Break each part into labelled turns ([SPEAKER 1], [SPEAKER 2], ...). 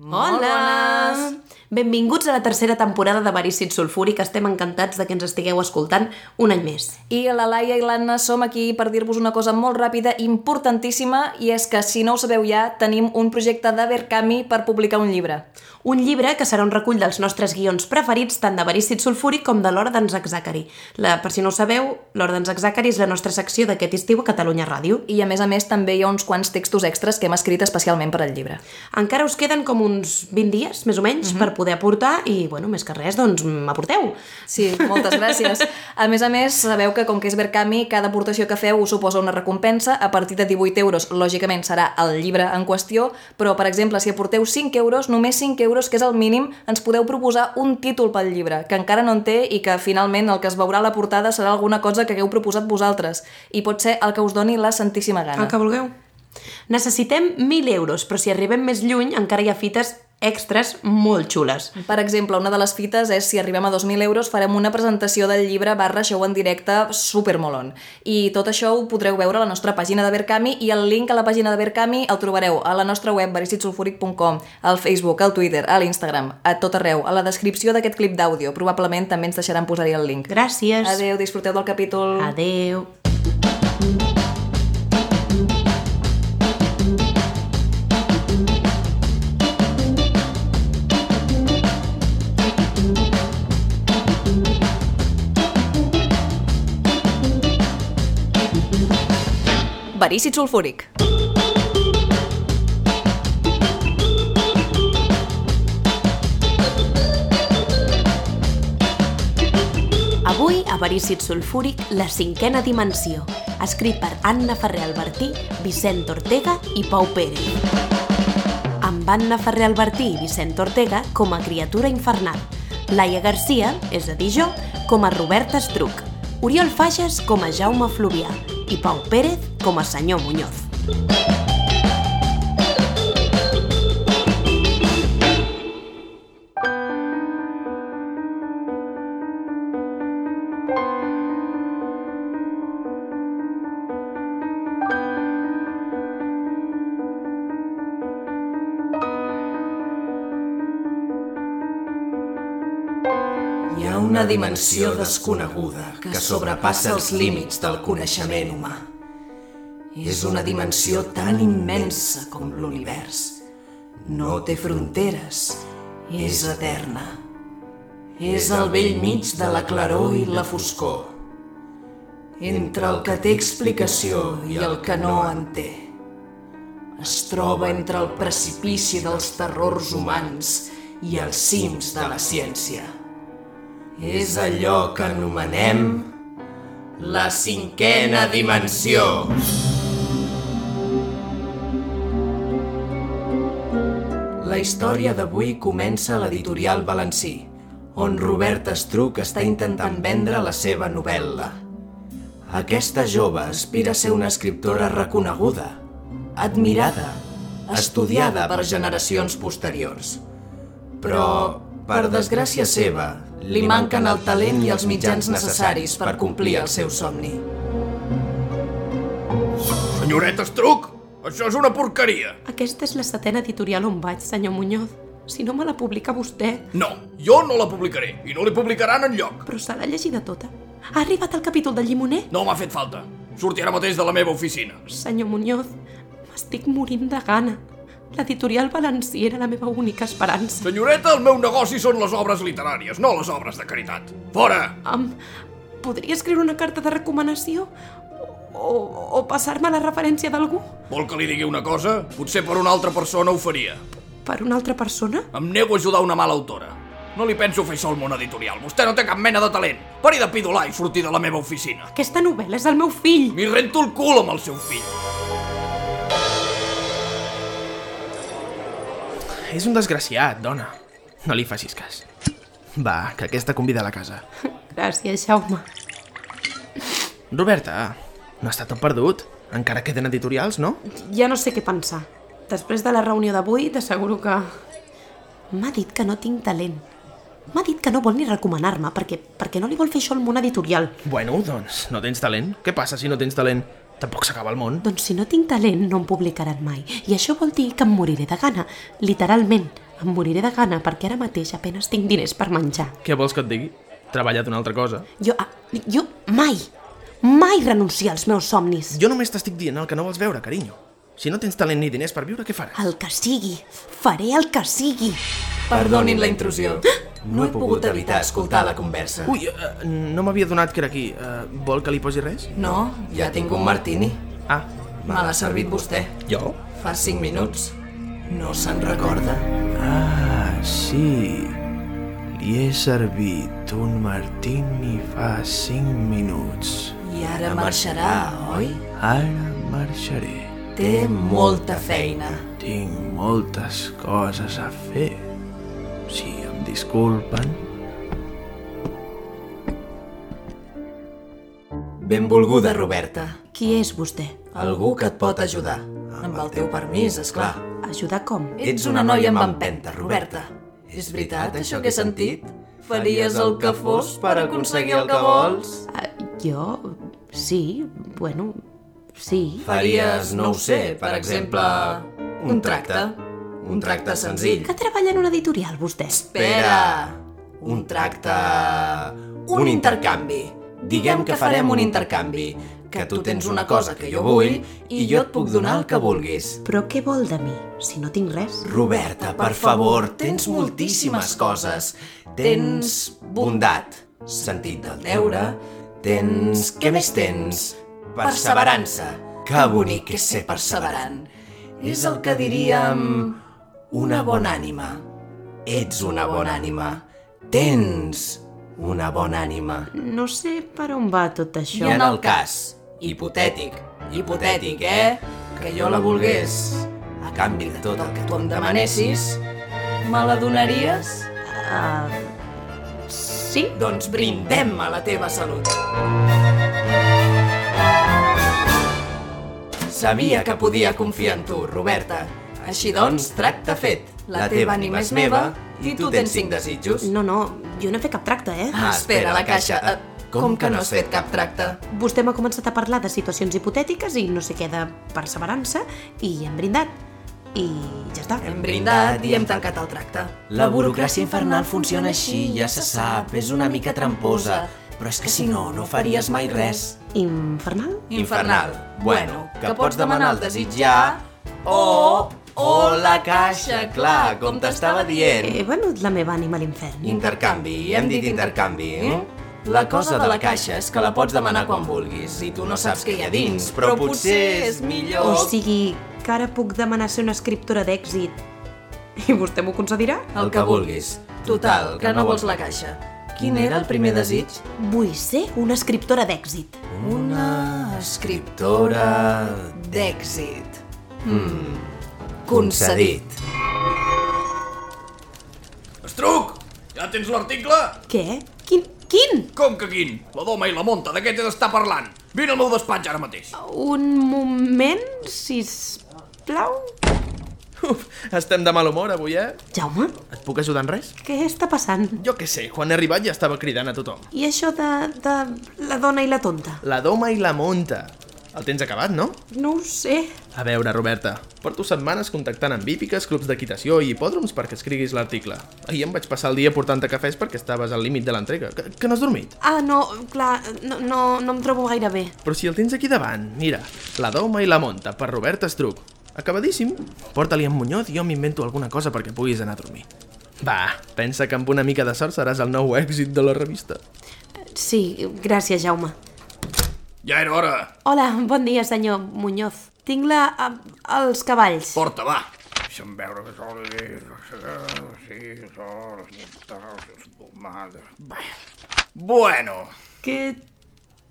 [SPEAKER 1] Hola! bones!
[SPEAKER 2] Benvinguts a la tercera temporada de Verícit Sulfúric. Estem encantats de que ens estigueu escoltant un any més.
[SPEAKER 1] I la Laia i l'Anna som aquí per dir-vos una cosa molt ràpida, importantíssima, i és que, si no ho sabeu ja, tenim un projecte de Verkami per publicar un llibre.
[SPEAKER 2] Un llibre que serà un recull dels nostres guions preferits tant de Verícit Sulfúric com de l'Hora d'en Zac Zacari. La, per si no ho sabeu, l'Hora d'en Zac Zacari és la nostra secció d'aquest estiu a Catalunya Ràdio.
[SPEAKER 1] I, a més a més, també hi ha uns quants textos extras que hem escrit especialment per al llibre.
[SPEAKER 2] Encara us queden com uns 20 dies, més o menys, per poder aportar i, bueno, més que res, doncs m'aporteu.
[SPEAKER 1] Sí, moltes gràcies. A més a més, sabeu que com que és Verkami, cada aportació que feu us suposa una recompensa a partir de 18 euros. Lògicament serà el llibre en qüestió, però, per exemple, si aporteu 5 euros, només 5 euros, que és el mínim, ens podeu proposar un títol pel llibre, que encara no en té i que, finalment, el que es veurà a la portada serà alguna cosa que hagueu proposat vosaltres i pot ser el que us doni la santíssima gana.
[SPEAKER 2] El que vulgueu. Necessitem 1.000 euros, però si arribem més lluny encara hi ha fites extres molt xules.
[SPEAKER 1] Per exemple, una de les fites és si arribem a 2.000 euros farem una presentació del llibre barra show en directe supermolon. I tot això ho podreu veure a la nostra pàgina de Verkami i el link a la pàgina de Verkami el trobareu a la nostra web vericitsulfuric.com, al Facebook, al Twitter, a l'Instagram, a tot arreu, a la descripció d'aquest clip d'àudio. Probablement també ens deixaran posar-hi el link.
[SPEAKER 2] Gràcies.
[SPEAKER 1] Adeu, disfruteu del capítol.
[SPEAKER 2] Adeu.
[SPEAKER 1] Verícit sulfúric.
[SPEAKER 2] Avui, a Verícit Sulfúric, la cinquena dimensió. Escrit per Anna Ferrer Albertí, Vicent Ortega i Pau Pérez. Amb Anna Ferrer Albertí i Vicent Ortega com a criatura infernal. Laia Garcia, és a dir jo, com a Roberta Estruc. Oriol Fages com a Jaume Fluvià i Pau Pérez com a senyor Muñoz.
[SPEAKER 3] Hi ha una dimensió desconeguda que sobrepassa els límits del coneixement humà. És una dimensió tan immensa com l'univers. No té fronteres, és eterna. És al vell mig de la claror i la foscor. Entre el que té explicació i el que no en té. Es troba entre el precipici dels terrors humans i els cims de la ciència és allò que anomenem la cinquena dimensió. La història d'avui comença a l'editorial Valencí, on Robert Estruc està intentant vendre la seva novel·la. Aquesta jove aspira a ser una escriptora reconeguda, admirada, estudiada per generacions posteriors. Però, per desgràcia seva, li manquen el talent i els mitjans necessaris per complir el seu somni.
[SPEAKER 4] Senyoreta Estruc, això és una porqueria.
[SPEAKER 2] Aquesta és la setena editorial on vaig, senyor Muñoz. Si no me la publica vostè,
[SPEAKER 4] No, jo no la publicaré i no li publicaran en lloc.
[SPEAKER 2] però se l'ha llegida tota. Ha arribat al capítol del llimoner?
[SPEAKER 4] No m'ha fet falta. Sortirà mateix de la meva oficina.
[SPEAKER 2] Senyor Muñoz, m'estic morint de gana. L'editorial Valencí era la meva única esperança.
[SPEAKER 4] Senyoreta, el meu negoci són les obres literàries, no les obres de caritat. Fora!
[SPEAKER 2] Em... Podria escriure una carta de recomanació? O, o passar-me la referència d'algú?
[SPEAKER 4] Vol que li digui una cosa? Potser per una altra persona ho faria.
[SPEAKER 2] Per una altra persona?
[SPEAKER 4] Em nego a ajudar una mala autora. No li penso fer sol mon editorial. Vostè no té cap mena de talent. Pari de pidolar i sortir de la meva oficina.
[SPEAKER 2] Aquesta novel·la és del meu fill!
[SPEAKER 4] M'hi rento el cul amb el seu fill.
[SPEAKER 5] És un desgraciat, dona. No li facis cas. Va, que aquesta convida a la casa.
[SPEAKER 2] Gràcies, Jaume.
[SPEAKER 5] Roberta, no està tot perdut. Encara queden editorials, no?
[SPEAKER 2] Ja no sé què pensar. Després de la reunió d'avui, t'asseguro que... M'ha dit que no tinc talent. M'ha dit que no vol ni recomanar-me perquè, perquè no li vol fer això al món editorial.
[SPEAKER 5] Bueno, doncs, no tens talent. Què passa si no tens talent? Tampoc s'acaba el món.
[SPEAKER 2] Doncs si no tinc talent, no em publicaran mai. I això vol dir que em moriré de gana, literalment. Em moriré de gana perquè ara mateix apenes tinc diners per menjar.
[SPEAKER 5] Què vols que et digui? Treballat una altra cosa.
[SPEAKER 2] Jo, ah, jo mai, mai renunciar als meus somnis.
[SPEAKER 5] Jo només t'estic dient el que no vols veure, carinyo. Si no tens talent ni diners per viure, què faràs?
[SPEAKER 2] El que sigui, faré el que sigui.
[SPEAKER 3] Perdonin la intrusió. No he pogut evitar escoltar la conversa.
[SPEAKER 5] Ui, uh, no m'havia donat que era aquí. Uh, vol que li posi res?
[SPEAKER 3] No, ja tinc un martini.
[SPEAKER 5] Ah,
[SPEAKER 3] Me l'ha servit vostè.
[SPEAKER 5] jo?
[SPEAKER 3] Fa cinc minuts. No se'n recorda?
[SPEAKER 5] Ah, sí. Li he servit un martini fa cinc minuts.
[SPEAKER 3] I ara marxarà, oi?
[SPEAKER 5] Ara marxaré.
[SPEAKER 3] Té molta feina.
[SPEAKER 5] Tinc moltes coses a fer. Si em disculpen...
[SPEAKER 3] Benvolguda, Roberta.
[SPEAKER 2] Qui és vostè?
[SPEAKER 3] Algú que et pot ajudar. Amb el teu permís, és clar.
[SPEAKER 2] Ajudar com?
[SPEAKER 3] Ets una noia amb empenta, Roberta. És veritat, això que he sentit? Faries el que fos per aconseguir el que vols?
[SPEAKER 2] Ah, jo? Sí, bueno, sí.
[SPEAKER 3] Faries, no ho sé, per exemple, un tracte. Un tracte senzill.
[SPEAKER 2] Que treballa en una editorial, vostè?
[SPEAKER 3] Espera! Un tracte... Un intercanvi. Diguem que farem un intercanvi. Que tu tens una cosa que jo vull i jo et puc donar el que vulguis.
[SPEAKER 2] Però què vol de mi, si no tinc res?
[SPEAKER 3] Roberta, per favor, tens moltíssimes coses. Tens bondat, sentit del deure, tens... Què més tens? Perseverança. Que bonic és ser perseverant. És el que diríem... Una bona ànima. Ets una bona ànima. Tens una bona ànima.
[SPEAKER 2] No sé per on va tot
[SPEAKER 3] I
[SPEAKER 2] això.
[SPEAKER 3] en el cas, hipotètic, hipotètic, eh? Que jo la volgués, a canvi de tot el que tu em demanessis, me la donaries?
[SPEAKER 2] Sí?
[SPEAKER 3] Doncs brindem a la teva salut. Sabia que podia confiar en tu, Roberta. Així doncs, tracte fet. La teva ànima és meva i tu tens cinc desitjos.
[SPEAKER 2] No, no, jo no he fet cap tracte, eh?
[SPEAKER 3] Ah, espera, la caixa. Eh, Com que no has fet cap tracte?
[SPEAKER 2] Vostè m'ha començat a parlar de situacions hipotètiques i no sé què de perseverança i hem brindat. I ja està.
[SPEAKER 3] Hem brindat i hem tancat el tracte. La burocràcia infernal funciona així, ja se sap, és una mica tramposa. Però és que si no, no faries mai res.
[SPEAKER 2] Infernal?
[SPEAKER 3] Infernal. Bueno, que pots demanar el desig ja o... o la caixa, clar, com t'estava dient.
[SPEAKER 2] He venut Eh, la meva ànima a l'infern.
[SPEAKER 3] Intercanvi, hem dit intercanvi, eh? La cosa de la caixa és que la pots demanar quan vulguis i tu no saps què hi ha dins, però potser és millor...
[SPEAKER 2] O sigui, que ara puc demanar ser una escriptora d'èxit i vostè m'ho concedirà?
[SPEAKER 3] El que vulguis. Total, que no vols la caixa. Quin era el primer desig?
[SPEAKER 2] Vull ser una escriptora d'èxit.
[SPEAKER 3] Una escriptora d'èxit. Hmm. Concedit.
[SPEAKER 4] Estruc! Ja tens l'article?
[SPEAKER 2] Què? Quin? Quin?
[SPEAKER 4] Com que quin? La doma i la monta, de què t'he d'estar parlant? Vine al meu despatx ara mateix.
[SPEAKER 2] Un moment, si plau.
[SPEAKER 5] Uf, estem de mal humor avui, eh?
[SPEAKER 2] Jaume,
[SPEAKER 5] Et puc ajudar en res?
[SPEAKER 2] què està passant?
[SPEAKER 5] Jo què sé, quan he arribat ja estava cridant a tothom.
[SPEAKER 2] I això de, de la dona i la tonta?
[SPEAKER 5] La doma i la monta. El tens acabat, no?
[SPEAKER 2] No ho sé.
[SPEAKER 5] A veure, Roberta, porto setmanes contactant amb hípiques, clubs d'equitació i hipòdroms perquè escriguis l'article. Ahir em vaig passar el dia portant-te cafès perquè estaves al límit de l'entrega. Que, que no has dormit?
[SPEAKER 2] Ah, no, clar, no, no, no em trobo gaire bé.
[SPEAKER 5] Però si el tens aquí davant, mira, La doma i la monta, per Roberta Estruc. Acabadíssim. Porta-li en Muñoz i jo m'invento alguna cosa perquè puguis anar a dormir. Va, pensa que amb una mica de sort seràs el nou èxit de la revista.
[SPEAKER 2] Sí, gràcies, Jaume.
[SPEAKER 4] Ja era hora.
[SPEAKER 2] Hola, bon dia, senyor Muñoz. Tinc la... eh, els cavalls.
[SPEAKER 4] Porta, va. Deixa'm veure que sol sí, sol, Bé. Bueno,
[SPEAKER 2] Què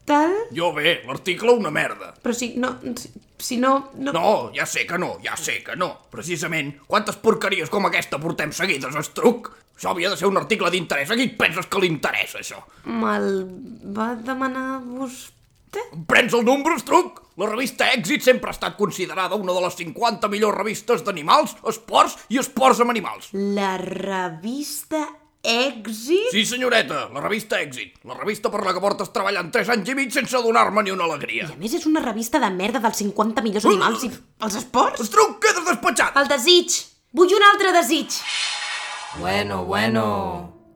[SPEAKER 2] tal?
[SPEAKER 4] jo bé, l'article una merda.
[SPEAKER 2] Però si no... Si, si no, no...
[SPEAKER 4] No, ja sé que no, ja sé que no. Precisament, quantes porqueries com aquesta portem seguides, estruc? Això havia de ser un article d'interès. A qui et penses que li interessa, això?
[SPEAKER 2] Me'l va demanar vostè?
[SPEAKER 4] Em Prens el número, estruc? La revista Èxit sempre ha estat considerada una de les 50 millors revistes d'animals, esports i esports amb animals.
[SPEAKER 2] La revista Èxit?
[SPEAKER 4] Sí, senyoreta, la revista Èxit. La revista per la que portes treballant 3 anys i mig sense donar-me ni una alegria.
[SPEAKER 2] A més, és una revista de merda dels 50 millors animals i els esports?
[SPEAKER 4] Estruc, quedes despatxat!
[SPEAKER 2] El desig! Vull un altre desig!
[SPEAKER 3] Bueno, bueno.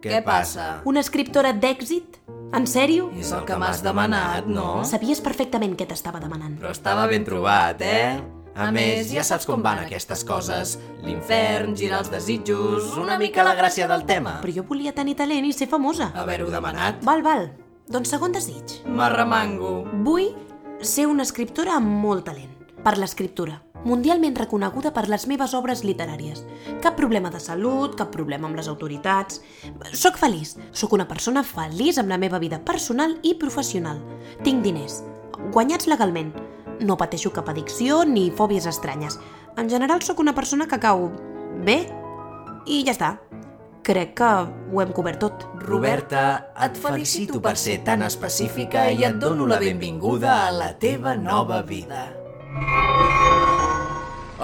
[SPEAKER 3] Què passa?
[SPEAKER 2] Una escriptora d'èxit? En sèrio?
[SPEAKER 3] És el que m'has demanat, no?
[SPEAKER 2] Sabies perfectament què t'estava demanant.
[SPEAKER 3] Però estava ben trobat, eh? A més, ja saps com van aquestes coses. L'infern, girar els desitjos, una mica la gràcia del tema.
[SPEAKER 2] Però jo volia tenir talent i ser famosa.
[SPEAKER 3] Haver-ho demanat,
[SPEAKER 2] Val, val. Doncs segon desig.
[SPEAKER 3] m'arremango.
[SPEAKER 2] Vull ser una escriptora amb molt talent. Per l'escriptura. Mundialment reconeguda per les meves obres literàries. Cap problema de salut, cap problema amb les autoritats... Soc feliç. Soc una persona feliç amb la meva vida personal i professional. Tinc diners. Guanyats legalment. No pateixo cap addicció ni fòbies estranyes. En general sóc una persona que cau bé i ja està. Crec que ho hem cobert tot.
[SPEAKER 3] Roberta, et felicito per ser tan específica i et dono la benvinguda a la teva nova vida.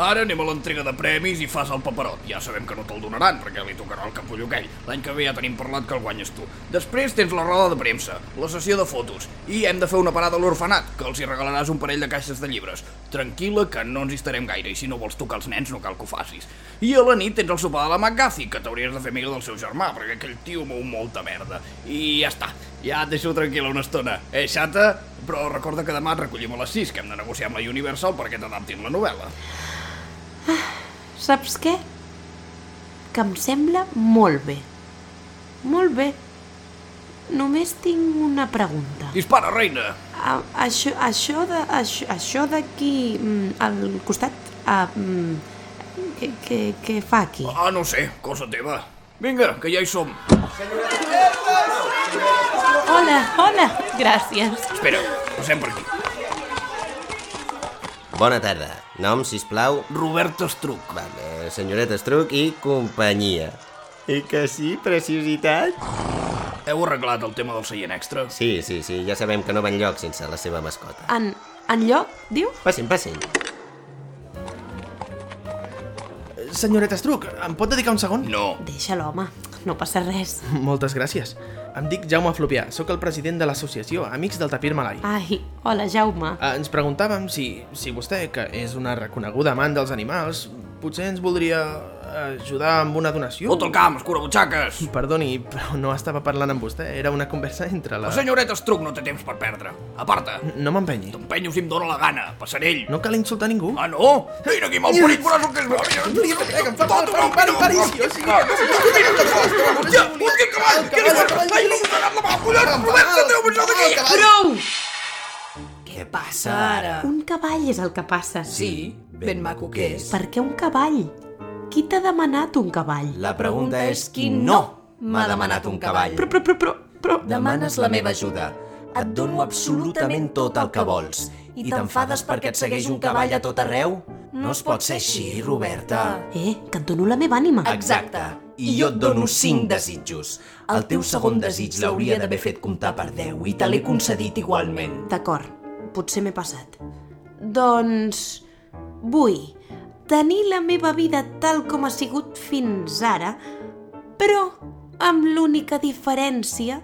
[SPEAKER 4] Ara anem a l'entrega de premis i fas el paperot. Ja sabem que no te'l donaran, perquè li tocarà el capullo aquell. L'any que ve ja tenim parlat que el guanyes tu. Després tens la roda de premsa, la sessió de fotos, i hem de fer una parada a l'orfenat, que els hi regalaràs un parell de caixes de llibres. Tranquil·la, que no ens hi estarem gaire, i si no vols tocar els nens no cal que ho facis. I a la nit tens el sopar de la McGuffey, que t'hauries de fer amiga del seu germà, perquè aquell tio mou molta merda. I ja està, ja et deixo tranquil·la una estona. Eh, xata? Però recorda que demà et recollim a les 6, que hem de negociar amb la Universal perquè t'adaptin la novel·la.
[SPEAKER 2] Saps què? Que em sembla molt bé. Molt bé. Només tinc una pregunta.
[SPEAKER 4] Dispara, reina!
[SPEAKER 2] A, això, això de, això, això d'aquí mm, al costat, a, mm, què, què, què fa aquí?
[SPEAKER 4] Ah, no sé, cosa teva. Vinga, que ja hi som.
[SPEAKER 2] Hola, hola, gràcies.
[SPEAKER 4] Espera, passem per aquí.
[SPEAKER 6] Bona tarda. Nom, sisplau,
[SPEAKER 4] Robert Estruc.
[SPEAKER 6] vale, senyoreta Struc i companyia. I que sí, preciositat?
[SPEAKER 4] Heu arreglat el tema del seient extra?
[SPEAKER 6] Sí, sí, sí, ja sabem que no van lloc sense la seva mascota.
[SPEAKER 2] En, en lloc, diu?
[SPEAKER 6] Passin, passin.
[SPEAKER 5] Senyoreta Struc, em pot dedicar un segon?
[SPEAKER 4] No.
[SPEAKER 2] Deixa'l, home, no passa res.
[SPEAKER 5] Moltes gràcies. Em dic Jaume Flopià, sóc el president de l'associació Amics del Tapir Malai.
[SPEAKER 2] Ai, hola, Jaume.
[SPEAKER 5] Eh, Ens preguntàvem si, si vostè, que és una reconeguda amant dels animals, potser ens voldria ajudar amb una donació.
[SPEAKER 4] Fot el camp, escurabutxaques!
[SPEAKER 5] Perdoni, però no estava parlant amb vostè, era una conversa entre la...
[SPEAKER 4] La senyoreta Estruc no té temps per perdre. Aparta,
[SPEAKER 5] No m'empenyi.
[SPEAKER 4] t'empenyo si em dóna la gana, passarell.
[SPEAKER 5] No cal insultar ningú.
[SPEAKER 4] Ah, no? Mira aquí, mal parit, però que és... Tot una Ja, hòstia, cavall! Que li fas? Ai, no m'ho donat la mà, collons! Robert, treu-me això d'aquí!
[SPEAKER 2] Prou!
[SPEAKER 3] Què passa ara?
[SPEAKER 2] Un cavall és el que passa.
[SPEAKER 3] Sí, ben maco que és.
[SPEAKER 2] Per què un cavall? Qui t'ha demanat un cavall?
[SPEAKER 3] La pregunta és qui no m'ha demanat un cavall.
[SPEAKER 2] Però, però, però, però, però...
[SPEAKER 3] Demanes la meva ajuda. Et dono absolutament tot el que vols. I t'enfades perquè et segueix un cavall a tot arreu? No es pot ser així, Roberta.
[SPEAKER 2] Eh, que et dono la meva ànima.
[SPEAKER 3] Exacte. I jo et dono cinc desitjos. El teu segon desig l'hauria d'haver fet comptar per 10 i te l'he concedit igualment.
[SPEAKER 2] D'acord, potser m'he passat. Doncs... Vull tenir la meva vida tal com ha sigut fins ara, però amb l'única diferència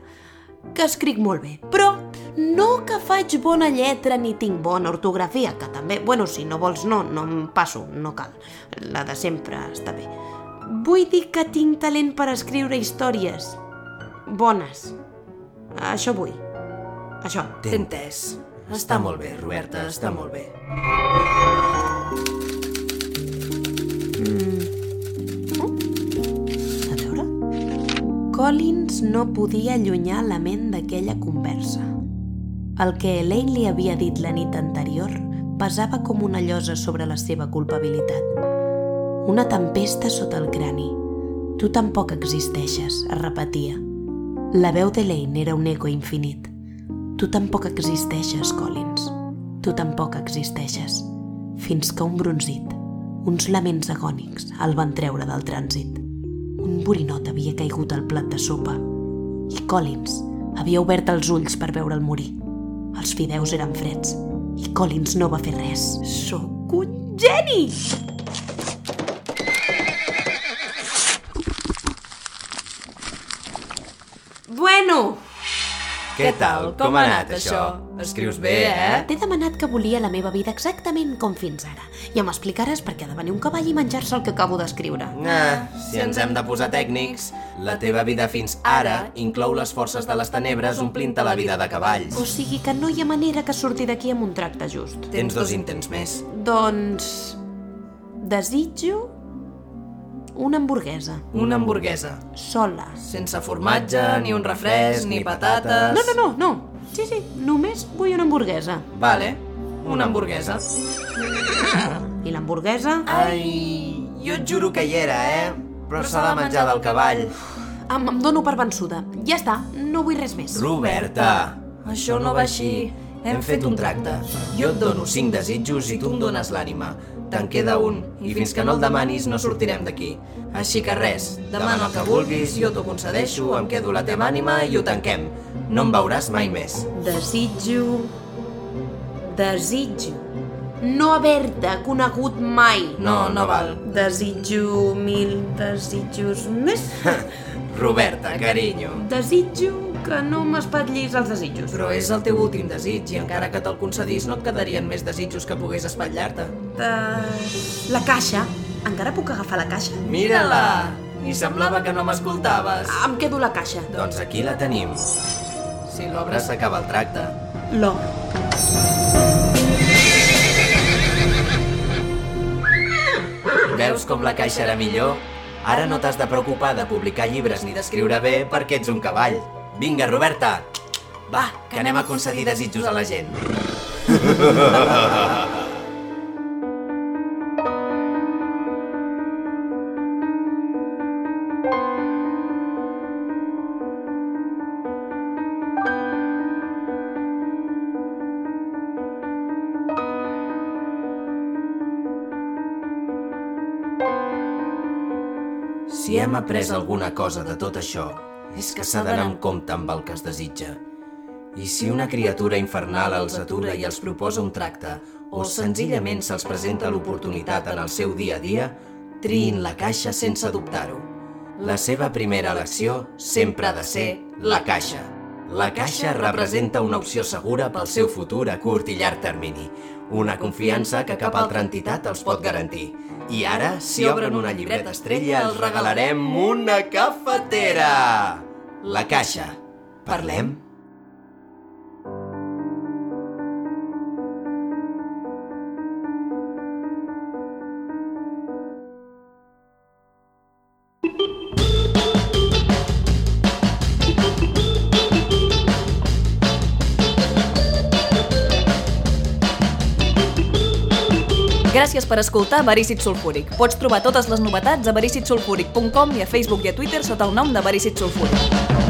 [SPEAKER 2] que escric molt bé. Però no que faig bona lletra ni tinc bona ortografia, que també, bueno, si no vols no, no em passo, no cal. La de sempre està bé. Vull dir que tinc talent per escriure històries. Bones. Això vull. Això.
[SPEAKER 3] T'he entès. Està molt bé, Roberta, està molt bé.
[SPEAKER 2] Mm. A veure... Collins no podia allunyar la ment d'aquella conversa. El que Elaine li havia dit la nit anterior pesava com una llosa sobre la seva culpabilitat. Una tempesta sota el crani. Tu tampoc existeixes, es repetia. La veu d'Elaine era un eco infinit. Tu tampoc existeixes, Collins. Tu tampoc existeixes. Fins que un bronzit, uns laments agònics, el van treure del trànsit. Un borinot havia caigut al plat de sopa i Collins havia obert els ulls per veure'l morir. Els fideus eren freds i Collins no va fer res. Sóc un geni! Bueno,
[SPEAKER 3] Què tal? Com ha anat això? Escrius bé, eh?
[SPEAKER 2] T'he demanat que volia la meva vida exactament com fins ara Ja m'explicaràs per què ha de venir un cavall i menjar-se el que acabo d'escriure.
[SPEAKER 3] Ah, si ens hem de posar tècnics, la teva vida fins ara inclou les forces de les tenebres omplint-te la vida de cavalls.
[SPEAKER 2] O sigui que no hi ha manera que surti d'aquí amb un tracte just.
[SPEAKER 3] Tens dos intents més.
[SPEAKER 2] Doncs... Desitjo... Una hamburguesa.
[SPEAKER 1] Una hamburguesa.
[SPEAKER 2] Sola.
[SPEAKER 3] Sense formatge, ni un refresc, ni patates...
[SPEAKER 2] No, no, no, no. Sí, sí, només vull una hamburguesa.
[SPEAKER 3] Vale, una hamburguesa.
[SPEAKER 2] I l'hamburguesa
[SPEAKER 3] Ai, jo et juro que hi era, eh? Però s'ha de menjar del cavall.
[SPEAKER 2] em, em dono per vençuda. Ja està, no vull res més.
[SPEAKER 3] Roberta, això no va així. Hem fet un tracte. Jo et dono cinc desitjos i tu em dones l'ànima. Te'n queda un, i fins que no el demanis no sortirem d'aquí. Així que res, demana el que vulguis, jo t'ho concedeixo, em quedo la teva ànima i ho tanquem. No em veuràs mai més.
[SPEAKER 2] Desitjo... Desitjo... No haver-te conegut mai.
[SPEAKER 3] No, no val.
[SPEAKER 2] Desitjo mil desitjos més.
[SPEAKER 3] Roberta, carinyo.
[SPEAKER 2] Desitjo que no m'espatllis els desitjos.
[SPEAKER 3] Però és el teu últim desig i encara que te'l concedís no et quedarien més desitjos que pogués espatllar-te.
[SPEAKER 2] De- La caixa. Encara puc agafar la caixa?
[SPEAKER 3] Mira-la! I semblava que no m'escoltaves.
[SPEAKER 2] Em quedo la caixa.
[SPEAKER 3] Doncs aquí la tenim. Si l'obra s'acaba el tracte.
[SPEAKER 2] L'or.
[SPEAKER 3] Veus com la caixa era millor? Ara no t'has de preocupar de publicar llibres ni d'escriure bé perquè ets un cavall. Vinga, Roberta! Va, que anem a concedir desitjos a la gent. Si hem après alguna cosa de tot això, és que s'ha d'anar amb compte amb el que es desitja. I si una criatura infernal els atura i els proposa un tracte, o senzillament se'ls presenta l'oportunitat en el seu dia a dia, triïn la caixa sense dubtar-ho. La seva primera elecció sempre ha de ser la caixa. La caixa representa una opció segura pel seu futur a curt i llarg termini, una confiança que cap altra entitat els pot garantir. I ara, si obren una llibreta estrella, els regalarem una cafetera! La caixa. Parlem?
[SPEAKER 1] Gràcies per escoltar Verícit Sulfúric. Pots trobar totes les novetats a vericitsulfúric.com i a Facebook i a Twitter sota el nom de Verícit Sulfúric.